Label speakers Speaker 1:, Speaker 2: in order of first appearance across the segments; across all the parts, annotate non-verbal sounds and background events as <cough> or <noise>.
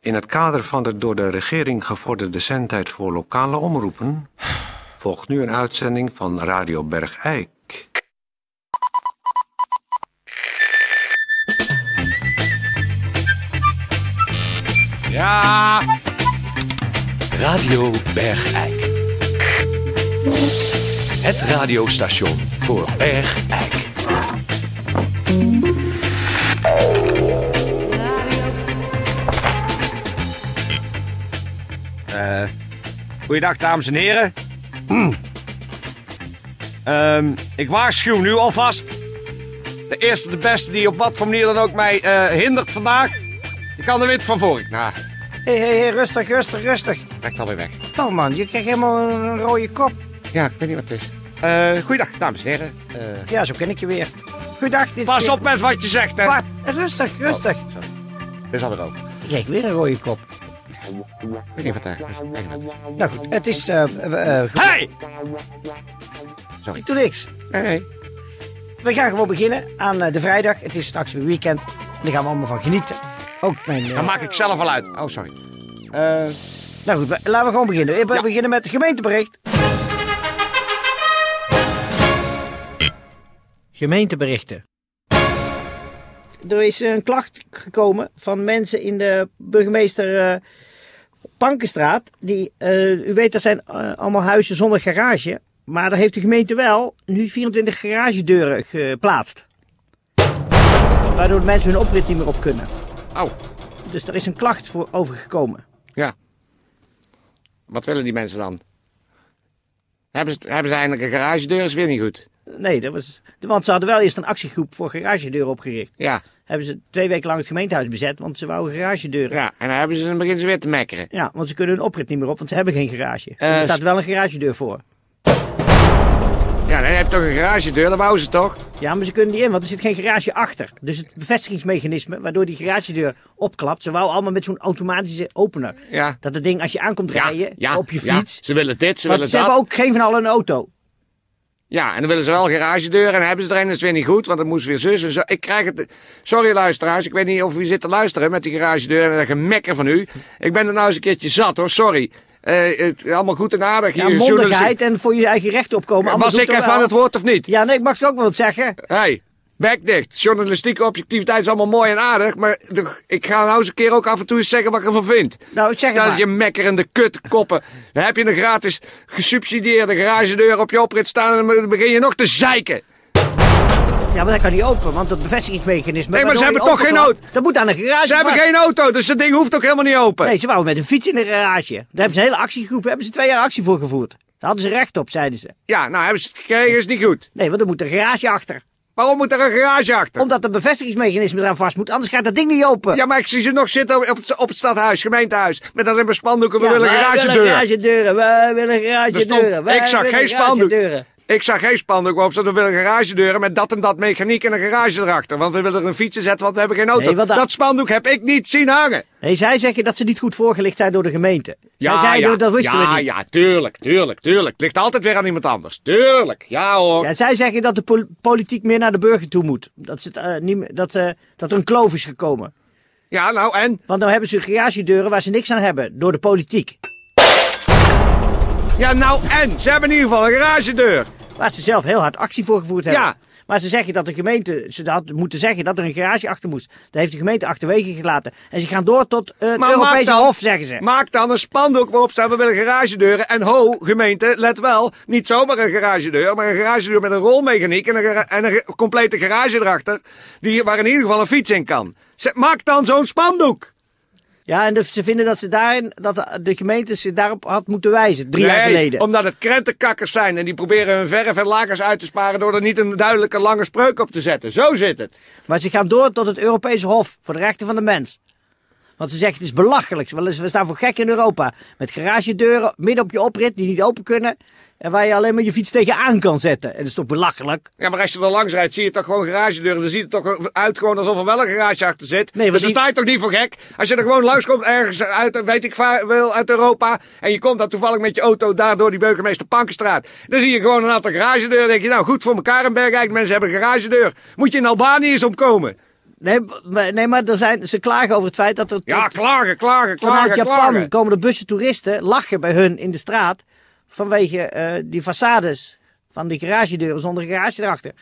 Speaker 1: In het kader van de door de regering gevorderde zendtijd voor lokale omroepen volgt nu een uitzending van Radio Bergijk.
Speaker 2: Ja!
Speaker 3: Radio Bergijk. Het radiostation voor Bergijk.
Speaker 2: Goeiedag, dames en heren. Hmm. Ehm, ik waarschuw nu alvast. De eerste, de beste die op wat voor manier dan ook mij eh, hindert vandaag. Ik kan de wind van voor. Ik- Nou,
Speaker 4: Hé, hé, hé, rustig, rustig, rustig.
Speaker 2: trek dan weer weg.
Speaker 4: Nou man, je krijgt helemaal een een rode kop.
Speaker 2: Ja, ik weet niet wat het is. Eh goeiedag, dames en heren. Eh,
Speaker 4: Ja, zo ken ik je weer. Goedendag. Dit
Speaker 2: pas
Speaker 4: keer-
Speaker 2: op met wat je zegt, hè.
Speaker 4: Wat? Rustig, rustig.
Speaker 2: Oh, sorry. Dit is alweer over.
Speaker 4: Je krijgt weer een rode kop.
Speaker 2: Ik weet niet wat daar is. Ik weet niet wat het is.
Speaker 4: Nou goed, het is... eh eh, eh, goed.
Speaker 2: Hey!
Speaker 4: Ik doe niks.
Speaker 2: Hey.
Speaker 4: We gaan gewoon beginnen aan eh, de vrijdag. Het is straks weer weekend. En daar gaan we allemaal van genieten. Ook mijn... eh,
Speaker 2: Dan maak ik zelf wel uit. Oh, sorry. Eh,
Speaker 4: Nou goed, we- laten we gewoon beginnen. Eh, We beginnen met het gemeentebericht. Gemeenteberichten. Er is een klacht gekomen van mensen in de burgemeester eh, Pankenstraat. Die, eh, u weet, dat zijn eh, allemaal huizen zonder garage. Maar daar heeft de gemeente wel nu 24 garagedeuren geplaatst. Waardoor de mensen hun oprit niet meer op kunnen.
Speaker 2: oh,
Speaker 4: Dus daar is een klacht voor overgekomen.
Speaker 2: ja. Wat willen die mensen dan? Hebben ze, hebben ze eindelijk een garagedeur? Is weer niet goed.
Speaker 4: Nee, dat was, want ze hadden wel eerst een actiegroep voor garagedeuren opgericht.
Speaker 2: Ja,
Speaker 4: Hebben ze twee weken lang het gemeentehuis bezet, want ze wouden garagedeuren. Ja.
Speaker 2: ja. En dan hebben ze in het begin ze weer te mekkeren.
Speaker 4: want ze kunnen hun oprit niet meer op, want ze hebben geen garage.
Speaker 2: Eh,
Speaker 4: er
Speaker 2: s-
Speaker 4: staat wel een garagedeur voor.
Speaker 2: Ja, dan heb je toch een garagedeur, dat wou ze toch?
Speaker 4: Ja, maar ze kunnen niet in, want er zit geen garage achter. Dus het bevestigingsmechanisme, waardoor die garagedeur opklapt, ze wouden allemaal met zo'n automatische opener.
Speaker 2: Ja.
Speaker 4: Dat het ding, als je aankomt
Speaker 2: Ja,
Speaker 4: rijden,
Speaker 2: ja,
Speaker 4: op je
Speaker 2: ja.
Speaker 4: fiets.
Speaker 2: Ze willen dit, ze
Speaker 4: want
Speaker 2: willen
Speaker 4: ze
Speaker 2: dat.
Speaker 4: hebben ook geen van allen een auto.
Speaker 2: Ja, en dan willen ze wel een garagedeur en dan hebben ze er een, dat is weer niet goed, want dan moest weer zus en zo. Ik krijg het... Sorry luisteraars, ik weet niet of u zit te luisteren met die garagedeur en dat gemekker van u. Ik ben er nou eens een keertje zat hoor, sorry. Eh, het, allemaal goed en aardig
Speaker 4: Ja,
Speaker 2: hier.
Speaker 4: mondigheid en voor je eigen recht opkomen.
Speaker 2: journalistiek.
Speaker 4: anders
Speaker 2: Was
Speaker 4: doet
Speaker 2: ik
Speaker 4: er
Speaker 2: even aan
Speaker 4: wel.
Speaker 2: het woord of niet?
Speaker 4: Ja, nee, ik mag toch ook wel wat zeggen.
Speaker 2: Hé, hey, bek dicht. Journalistieke objectiviteit is allemaal mooi en aardig, maar de- ik ga nou eens een keer ook af en toe eens zeggen wat ik ervan vind.
Speaker 4: Nou, zeg het
Speaker 2: Stel
Speaker 4: maar.
Speaker 2: je mekkerende kutkoppen. Dan heb je een gratis gesubsidieerde garagedeur op je oprit staan en dan begin je nog te zeiken.
Speaker 4: Ja, maar dat kan niet open, want dat bevestigingsmechanisme...
Speaker 2: Nee, maar
Speaker 4: waardoor
Speaker 2: ze hebben
Speaker 4: die
Speaker 2: toch geen
Speaker 4: openklapt,
Speaker 2: nood.
Speaker 4: Dat moet aan een garage
Speaker 2: Ze hebben
Speaker 4: vast.
Speaker 2: geen auto, dus dat ding hoeft ook helemaal niet open.
Speaker 4: Nee, ze wouden met een fiets in een garage. Daar hebben ze een hele actiegroep, daar hebben ze twee jaar actie voor gevoerd. Daar hadden ze recht op, zeiden ze.
Speaker 2: Ja, nou hebben ze het gekregen, is niet goed.
Speaker 4: Nee, want er moet een garage achter.
Speaker 2: Waarom moet er een garage achter?
Speaker 4: Omdat een bevestigingsmechanisme eraan vast moet, anders gaat dat ding niet open.
Speaker 2: Ja, maar ik zie ze nog zitten op het, op het stadhuis, gemeentehuis. Met alleen maar spandoeken, we willen
Speaker 4: wij
Speaker 2: garagedeuren.
Speaker 4: willen garagedeuren, wij willen
Speaker 2: Er stond-
Speaker 4: garagedeuren. wij
Speaker 2: ik zag
Speaker 4: willen
Speaker 2: geen spandoek.
Speaker 4: garagedeuren.
Speaker 2: Ik zag geen spandoek waarop ze we willen garagedeuren met dat en dat mechaniek en een garage erachter. Want we willen er een fiets in zetten, want we hebben geen auto.
Speaker 4: Nee, want
Speaker 2: dat...
Speaker 4: dat-
Speaker 2: spandoek heb ik niet zien hangen.
Speaker 4: Nee, zij zeggen dat ze niet goed voorgelicht zijn door de gemeente. zij zeiden, dat wisten
Speaker 2: ja,
Speaker 4: we niet.
Speaker 2: ja, tuurlijk, tuurlijk, tuurlijk. Het ligt altijd weer aan iemand anders. Tuurlijk, ja hoor.
Speaker 4: Ja, zij zeggen dat de pol- politiek meer naar de burger toe moet. Dat, ze het, eh, niet meer- dat, eh, dat er een kloof is gekomen.
Speaker 2: Ja, nou en?
Speaker 4: Want nou hebben ze garagedeuren waar ze niks aan hebben door de politiek.
Speaker 2: Ja, nou en? Ze hebben in ieder geval een garagedeur.
Speaker 4: Waar ze zelf heel hard actie voor gevoerd hebben.
Speaker 2: Ja.
Speaker 4: Maar ze zeggen dat de gemeente, ze had moeten zeggen dat er een garage achter moest. Dat heeft de gemeente achterwege gelaten. En ze gaan door tot eh, het
Speaker 2: Maar
Speaker 4: Europese
Speaker 2: maak dan-
Speaker 4: Hof, zeggen ze.
Speaker 2: Maak dan een spandoek waarop staat we willen garagedeuren. En ho, gemeente, let wel. Niet zomaar een garagedeur, maar een garagedeur met een rolmechaniek en een, gara- en een ge- complete garage erachter. Die, waar in ieder geval een fiets in kan. Zet- Maak dan zo'n spandoek.
Speaker 4: Ja, en de- ze vinden dat, ze daarin, dat de- de gemeente zich daarop had moeten wijzen, drie jaar
Speaker 2: Nee,
Speaker 4: geleden.
Speaker 2: Omdat het krentenkakkers zijn en die proberen hun verf en lakens uit te sparen door er niet een duidelijke lange spreuk op te zetten. Zo zit het.
Speaker 4: Maar ze gaan door tot het Europese Hof voor de rechten van de mens. Want ze zeggen het is belachelijk. Wel eens, We staan voor gek in Europa. Met garagedeuren midden op je oprit die niet open kunnen. En waar je alleen maar je fiets tegenaan kan zetten. En dat is toch belachelijk?
Speaker 2: Ja, maar als je er langs rijdt, zie je toch gewoon garagedeuren. Dan ziet het toch uit gewoon alsof er wel een garage achter zit.
Speaker 4: Nee, want
Speaker 2: dus dan
Speaker 4: die-
Speaker 2: sta je toch niet voor gek? Als je er gewoon langs komt ergens uit, weet ik va- wel, uit Europa. En je komt dan toevallig met je auto daar door die burgemeester Pankenstraat. Dan zie je gewoon een aantal garagedeuren. Dan denk je, nou goed voor elkaar in Bergijk. Mensen hebben een garagedeur. Moet je in Albanië eens omkomen?
Speaker 4: Nee, maar- nee, maar er zijn, ze klagen over het feit dat er
Speaker 2: Ja,
Speaker 4: tot-
Speaker 2: klagen, klagen, klagen.
Speaker 4: vanuit Japan
Speaker 2: klagen.
Speaker 4: komen de bussen toeristen lachen bij hun in de straat. Vanwege eh, die façades van die garagedeuren zonder garage erachter.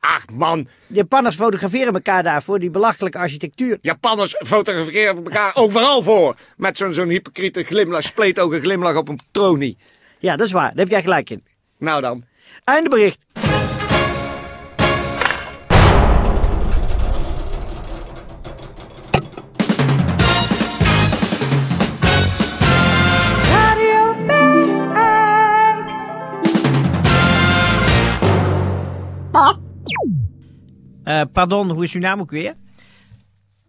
Speaker 2: Ach man,
Speaker 4: Japanners fotograferen elkaar daar voor die belachelijke architectuur.
Speaker 2: Japanners fotograferen elkaar overal voor. Met zo'n zo'n hypocriete glimlach, spleetogen glimlach op een tronie.
Speaker 4: Ja, dat is waar. Daar heb jij gelijk in.
Speaker 2: Nou dan.
Speaker 4: Einde bericht.
Speaker 5: Radio Bergijk.
Speaker 4: Eh, pardon, hoe is uw naam ook weer?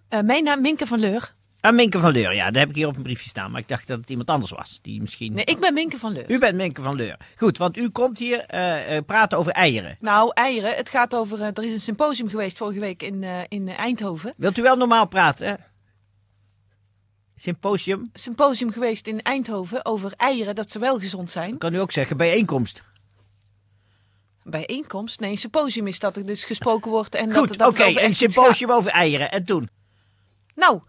Speaker 6: Eh, mijn naam Minke van Leur.
Speaker 4: Ah, Minke van Leur. Ja, daar heb ik hier op een briefje staan. Maar ik dacht dat het iemand anders was. Die misschien...
Speaker 6: Nee, ik ben Minke van Leur.
Speaker 4: U bent Minke van Leur. Goed, want u komt hier eh, eh, praten over eieren.
Speaker 6: Nou, eieren. Het gaat over. eh, er is een symposium geweest vorige week in, eh, in eh, Eindhoven.
Speaker 4: Wilt u wel normaal praten? hè? Symposium.
Speaker 6: Symposium geweest in Eindhoven over eieren, dat ze wel gezond zijn.
Speaker 4: Kan u ook zeggen bijeenkomst.
Speaker 6: Bijeenkomst? Nee, een symposium is dat er dus gesproken wordt. En dat,
Speaker 4: Goed, oké.
Speaker 6: dat er over
Speaker 4: een
Speaker 6: echt iets
Speaker 4: symposium over eieren. En toen?
Speaker 6: gaat. Nou,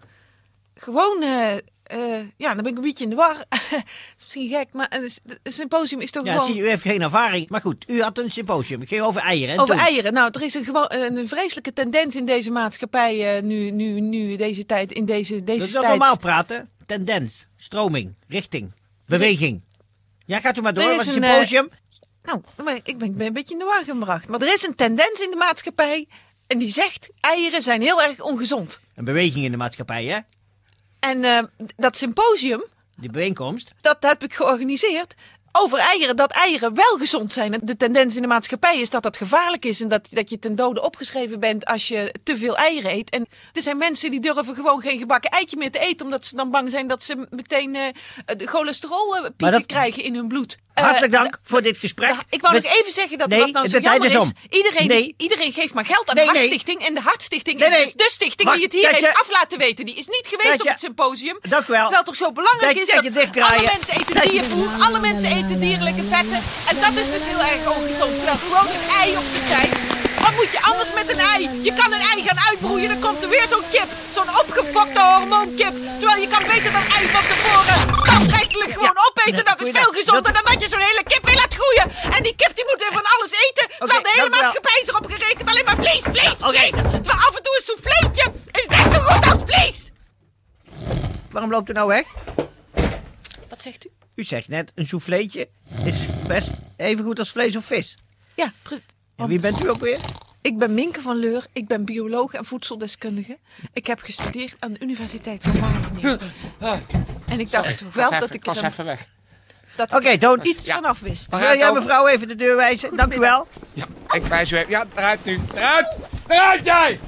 Speaker 6: gewoon. eh, eh, ja, dan ben ik een beetje in de war. <laughs> Dat is misschien gek, maar een, s- een symposium is toch
Speaker 4: Ja,
Speaker 6: gewoon.
Speaker 4: zie, u heeft geen ervaring. Maar goed, u had een symposium. Het ging over eieren. En
Speaker 6: Over
Speaker 4: toen?
Speaker 6: eieren. Nou, er is een, gewo- een een vreselijke tendens in deze maatschappij. eh, nu, nu, nu, deze tijd, in deze,
Speaker 4: Wilt
Speaker 6: deze
Speaker 4: u wel
Speaker 6: tijd.
Speaker 4: normaal praten? Tendens, stroming, richting, beweging. Ja, gaat u maar door.
Speaker 6: Er is
Speaker 4: was een
Speaker 6: een, eh,
Speaker 4: symposium.
Speaker 6: Nou, maar ik ben, ik ben een beetje in de war gebracht. Maar er is een tendens in de maatschappij. En die zegt, eieren zijn heel erg ongezond.
Speaker 4: Een beweging in de maatschappij, hè?
Speaker 6: En eh, dat symposium,
Speaker 4: Die bijeenkomst.
Speaker 6: dat heb ik georganiseerd. Over eieren, dat eieren wel gezond zijn. En de tendens in de maatschappij is dat dat gevaarlijk is. En dat, dat je ten dode opgeschreven bent als je te veel eieren eet. En er zijn mensen die durven gewoon geen gebakken eitje meer te eten. Omdat ze dan bang zijn dat ze meteen eh, de cholesterol eh, pieken
Speaker 4: dat-
Speaker 6: krijgen in hun bloed. Eh,
Speaker 4: Hartelijk dank voor dit gesprek.
Speaker 6: Ja, Ik wou
Speaker 4: Met-
Speaker 6: nog even zeggen dat
Speaker 4: Nee,
Speaker 6: wat nou zo
Speaker 4: de tijd
Speaker 6: jammer
Speaker 4: is
Speaker 6: is.
Speaker 4: om.
Speaker 6: Iedereen,
Speaker 4: Nee.
Speaker 6: iedereen geeft maar geld aan
Speaker 4: Nee,
Speaker 6: de
Speaker 4: nee.
Speaker 6: Hartstichting. En de Hartstichting
Speaker 4: Nee, nee.
Speaker 6: is dus de stichting
Speaker 4: Wacht,
Speaker 6: die het hier
Speaker 4: dat
Speaker 6: heeft
Speaker 4: je-
Speaker 6: af laten weten. Die is niet geweest
Speaker 4: dat
Speaker 6: op
Speaker 4: je-
Speaker 6: het symposium.
Speaker 4: Dank u wel.
Speaker 6: Terwijl het toch zo belangrijk
Speaker 4: Dat
Speaker 6: is
Speaker 4: je-
Speaker 6: dat,
Speaker 4: je dichtdraaien.
Speaker 6: alle mensen eten
Speaker 4: Dat je-
Speaker 6: diervoer. Alle mensen eten dierlijke vetten. En dat is dus heel erg ongezond. Terwijl gewoon een ei op zijn tijd. Wat moet je anders met een ei? Je kan een ei gaan uitbroeien. Dan komt er weer zo'n kip. Zo'n opgefokte hormoonkip. Terwijl je kan beter dat ei van tevoren standrechtelijk gewoon opeten. Dat is veel gezonder dan dat je zo'n hele kip weer laat groeien. En die kip die moet weer van alles eten. Terwijl de
Speaker 4: dank u
Speaker 6: hele
Speaker 4: wel.
Speaker 6: maatschappij is erop gerekend. Alleen maar vlees, vlees, vlees. Terwijl af en toe een souffleetje is net zo goed als vlees.
Speaker 4: Waarom loopt u nou weg?
Speaker 6: Wat zegt u?
Speaker 4: U zegt net, een souffleetje is best even goed als vlees of vis.
Speaker 6: Ja, pre-
Speaker 4: En wie bent u ook weer?
Speaker 6: Ik ben Minke van Leur, ik ben bioloog en voedseldeskundige. Ik heb gestudeerd aan de Universiteit van Wageningen. En ik dacht toch wel dat ik er dan-
Speaker 2: weg.
Speaker 6: dat ik
Speaker 4: Oké,
Speaker 6: er
Speaker 4: Toon.
Speaker 6: iets vanaf wist.
Speaker 4: Wil jij mevrouw even de deur wijzen? Dank u wel.
Speaker 2: Ja, ik wijs u even. Ja, eruit nu. Eruit! Eruit jij!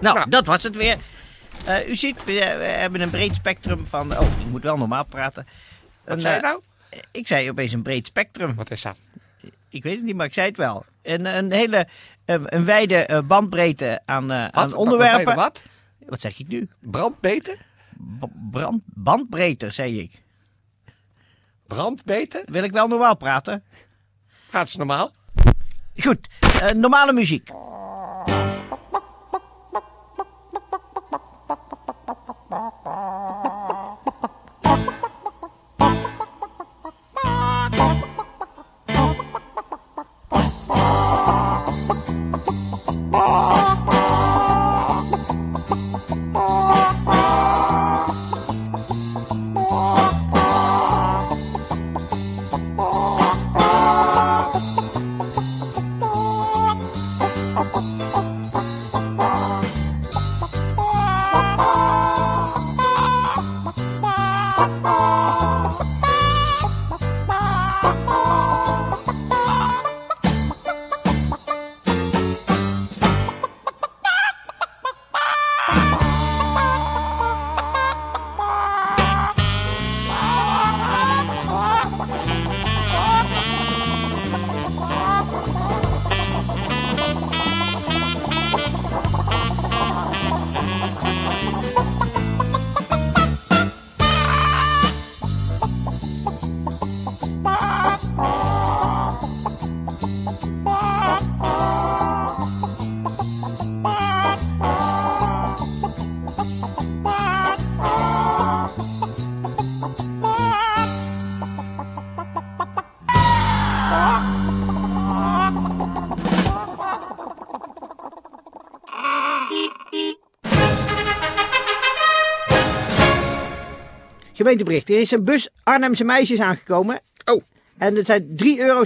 Speaker 4: Nou,
Speaker 2: Nou.
Speaker 4: dat was het weer. Eh, u ziet, we, we hebben een breed spectrum van... Oh, ik moet wel normaal praten. Een,
Speaker 2: Wat zei je
Speaker 4: eh,
Speaker 2: nou?
Speaker 4: Ik zei opeens een breed spectrum.
Speaker 2: Wat is dat?
Speaker 4: Ik weet het niet, maar ik zei het wel. Een, een hele eh, een wijde eh, bandbreedte aan, eh, aan onderwerpen.
Speaker 2: Wat?
Speaker 4: Wat zeg ik nu?
Speaker 2: Brandbeten?
Speaker 4: B- brand, bandbreedte, zei ik.
Speaker 2: Brandbeten?
Speaker 4: Wil ik wel normaal praten?
Speaker 2: Gaat ze normaal?
Speaker 4: Goed, eh, normale muziek.
Speaker 5: Bye.
Speaker 4: Gemeentebericht. Er is een bus Arnhemse meisjes aangekomen.
Speaker 2: Oh,
Speaker 4: En het zijn 3,46 euro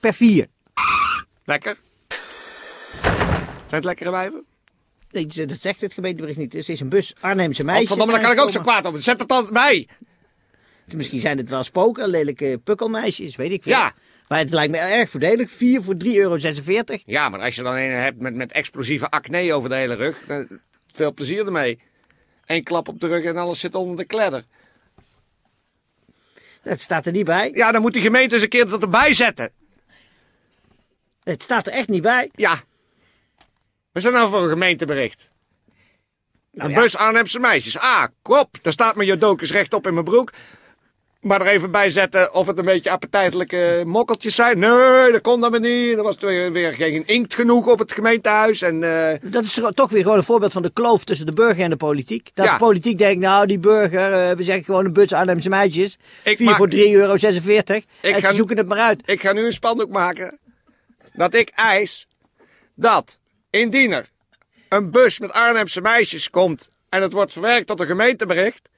Speaker 4: per vier.
Speaker 2: lekker. Zijn het lekkere wijven?
Speaker 4: Nee, ze- Dat zegt het gemeentebericht niet. Dus er is een bus Arnhemse meisjes.
Speaker 2: Oh, Verdomme, daar kan ik ook zo
Speaker 4: aangekomen.
Speaker 2: kwaad op. Zet het dan bij.
Speaker 4: Dus Misschien zijn het wel spoken, lelijke pukkelmeisjes, weet ik veel.
Speaker 2: Ja.
Speaker 4: Maar het lijkt me erg voordelig. 4 voor 3,46 euro.
Speaker 2: Ja, maar als je dan een hebt met, met explosieve acne over de hele rug, dan veel plezier ermee. Eén klap op de rug en alles zit onder de kledder.
Speaker 4: Dat staat er niet bij.
Speaker 2: Ja, dan moet die gemeente eens een keer dat erbij zetten.
Speaker 4: Het staat er echt niet bij.
Speaker 2: Ja. Wat is dat nou voor een gemeentebericht? een
Speaker 4: ja.
Speaker 2: bus Arnhemse meisjes. Ah, kop. Daar staat mijn jodokus rechtop in mijn broek. Maar er even bij zetten of het een beetje appetijtelijke mokkeltjes zijn. Nee, dat kon dan maar niet. Er was weer weer geen inkt genoeg op het gemeentehuis. En eh,
Speaker 4: Dat is toch weer gewoon een voorbeeld van de kloof tussen de burger en de politiek. Dat
Speaker 2: Ja.
Speaker 4: de politiek denkt, nou die burger, eh, we zeggen gewoon een bus Arnhemse meisjes.
Speaker 2: Ik
Speaker 4: 4
Speaker 2: maak-
Speaker 4: voor 3,46 euro. en
Speaker 2: ga-
Speaker 4: ze zoeken het maar uit.
Speaker 2: ik ga nu een spandoek maken. Dat ik eis dat indien er een bus met Arnhemse meisjes komt en het wordt verwerkt tot een gemeentebericht,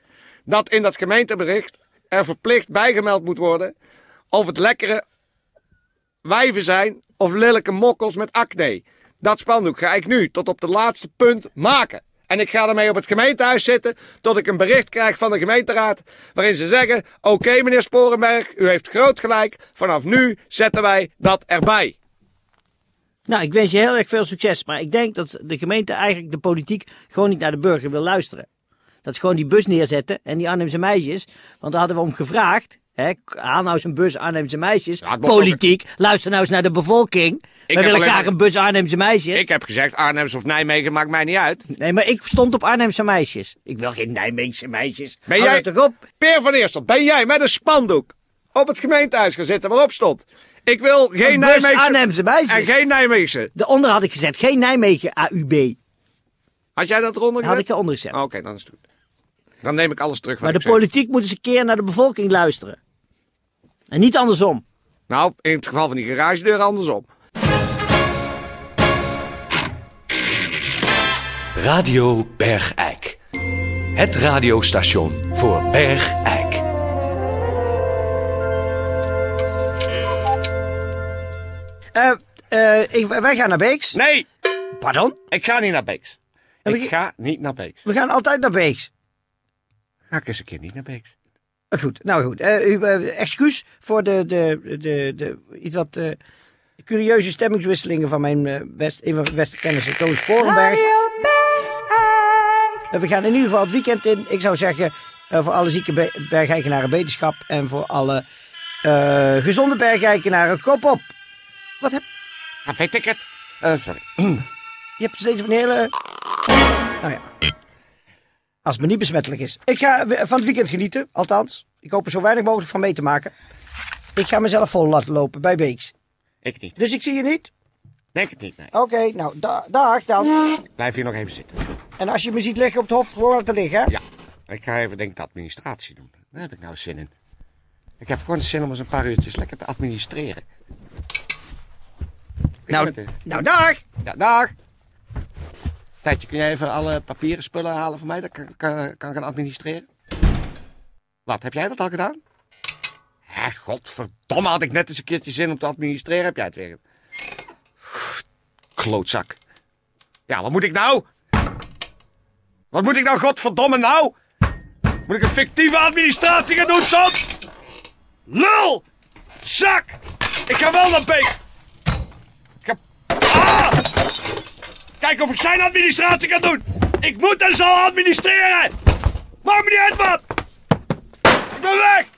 Speaker 2: dat in dat gemeentebericht er verplicht bijgemeld moet worden of het lekkere wijven zijn of lelijke mokkels met acne. Dat spandoek ga ik nu tot op de laatste punt maken. En ik ga ermee op het gemeentehuis zitten tot ik een bericht krijg van de gemeenteraad waarin ze zeggen: Oké meneer Sporenberg, u heeft groot gelijk. Vanaf nu zetten wij dat erbij.
Speaker 4: Nou, ik wens je heel erg veel succes. Maar ik denk dat de gemeente eigenlijk de politiek gewoon niet naar de burger wil luisteren. Dat ze gewoon die bus neerzetten en die Arnhemse meisjes. Want daar hadden we om gevraagd. Hè, haal nou eens een bus Arnhemse meisjes.
Speaker 2: Ja, het mocht
Speaker 4: politiek, luister nou eens naar de bevolking. We
Speaker 2: heb
Speaker 4: willen
Speaker 2: alleen
Speaker 4: graag
Speaker 2: maar-
Speaker 4: een bus Arnhemse meisjes.
Speaker 2: Ik heb gezegd: Arnhems of Nijmegen maakt mij niet uit.
Speaker 4: Nee, maar ik stond op Arnhemse meisjes. Ik wil geen Nijmeegse meisjes.
Speaker 2: Ben
Speaker 4: Hou
Speaker 2: jij-
Speaker 4: dat toch op?
Speaker 2: Peer van Eersel, ben jij met een spandoek op het gemeentehuis gaan zitten waarop stond: Ik wil geen
Speaker 4: Een bus
Speaker 2: Nijmeegse.
Speaker 4: Arnhemse meisjes.
Speaker 2: En geen Nijmeegse.
Speaker 4: Daaronder had ik gezet, geen Nijmegen AUB.
Speaker 2: Had jij dat eronder
Speaker 4: Dat had
Speaker 2: gezet?
Speaker 4: ik eronder gezet.
Speaker 2: Ah, Oké, dan is het goed. Dan neem ik alles terug. wat
Speaker 4: maar de
Speaker 2: ik zeg.
Speaker 4: politiek moet eens een keer naar de bevolking luisteren. En niet andersom.
Speaker 2: Nou, in het geval van die garagedeur andersom.
Speaker 3: Radio Bergijk. Het radiostation voor Bergijk.
Speaker 4: Eh, eh, ik- wij gaan naar Beeks.
Speaker 2: Nee,
Speaker 4: Pardon?
Speaker 2: ik ga niet naar Beeks.
Speaker 4: Heb
Speaker 2: Ik
Speaker 4: ik-
Speaker 2: ga niet naar Beeks.
Speaker 4: We gaan altijd naar Beeks.
Speaker 2: Ga ik eens een keer niet naar Beeks.
Speaker 4: Eh, Goed, nou goed. Eh, u, eh, excuus voor de, de, de, de iets wat eh, curieuze stemmingswisselingen van mijn eh, best, een van mijn beste kennissen, Toon Sporenberg.
Speaker 5: Radio Bergijk.
Speaker 4: Eh, we gaan in ieder geval het weekend in. Ik zou zeggen, eh, voor alle zieke be- bergeikenaren wetenschap en voor alle eh, gezonde bergeikenaren, kop op. Wat heb
Speaker 2: Dan vind Ah, ik het. Eh, sorry.
Speaker 4: Je hebt steeds van die hele. Nou ja. Als het maar niet besmettelijk is. Ik ga we- van het weekend genieten, althans. Ik hoop er zo weinig mogelijk van mee te maken. Ik ga mezelf vol laten lopen bij Beeks.
Speaker 2: Ik niet.
Speaker 4: Dus ik zie je niet?
Speaker 2: Denk het niet, nee.
Speaker 4: Oké, nou, da- dag dan.
Speaker 2: Blijf hier nog even zitten.
Speaker 4: En als je me ziet liggen op het hof, gewoon laten liggen, hè?
Speaker 2: Ja. Ik ga even, denk ik, de administratie doen. Daar heb ik nou zin in. Ik heb gewoon zin om eens een paar uurtjes lekker te administreren.
Speaker 4: nou, nou, dag!
Speaker 2: Ja, dag. Tijdje, kun jij even alle papieren spullen halen voor mij? Dat kan, kan, kan ik gaan administreren. Wat, heb jij dat al gedaan? Hé, godverdomme, had ik net eens een keertje zin om te administreren. Heb jij het weer? Klootzak. Ja, wat moet ik nou? Wat moet ik nou, godverdomme, nou? Moet ik een fictieve administratie gaan doen, Sam? Lul! Zak! Ik ga wel naar Beek! Ik ga Kijk of ik zijn administratie kan doen. Ik moet en zal administreren. Maak me niet uit wat. Ik ben weg.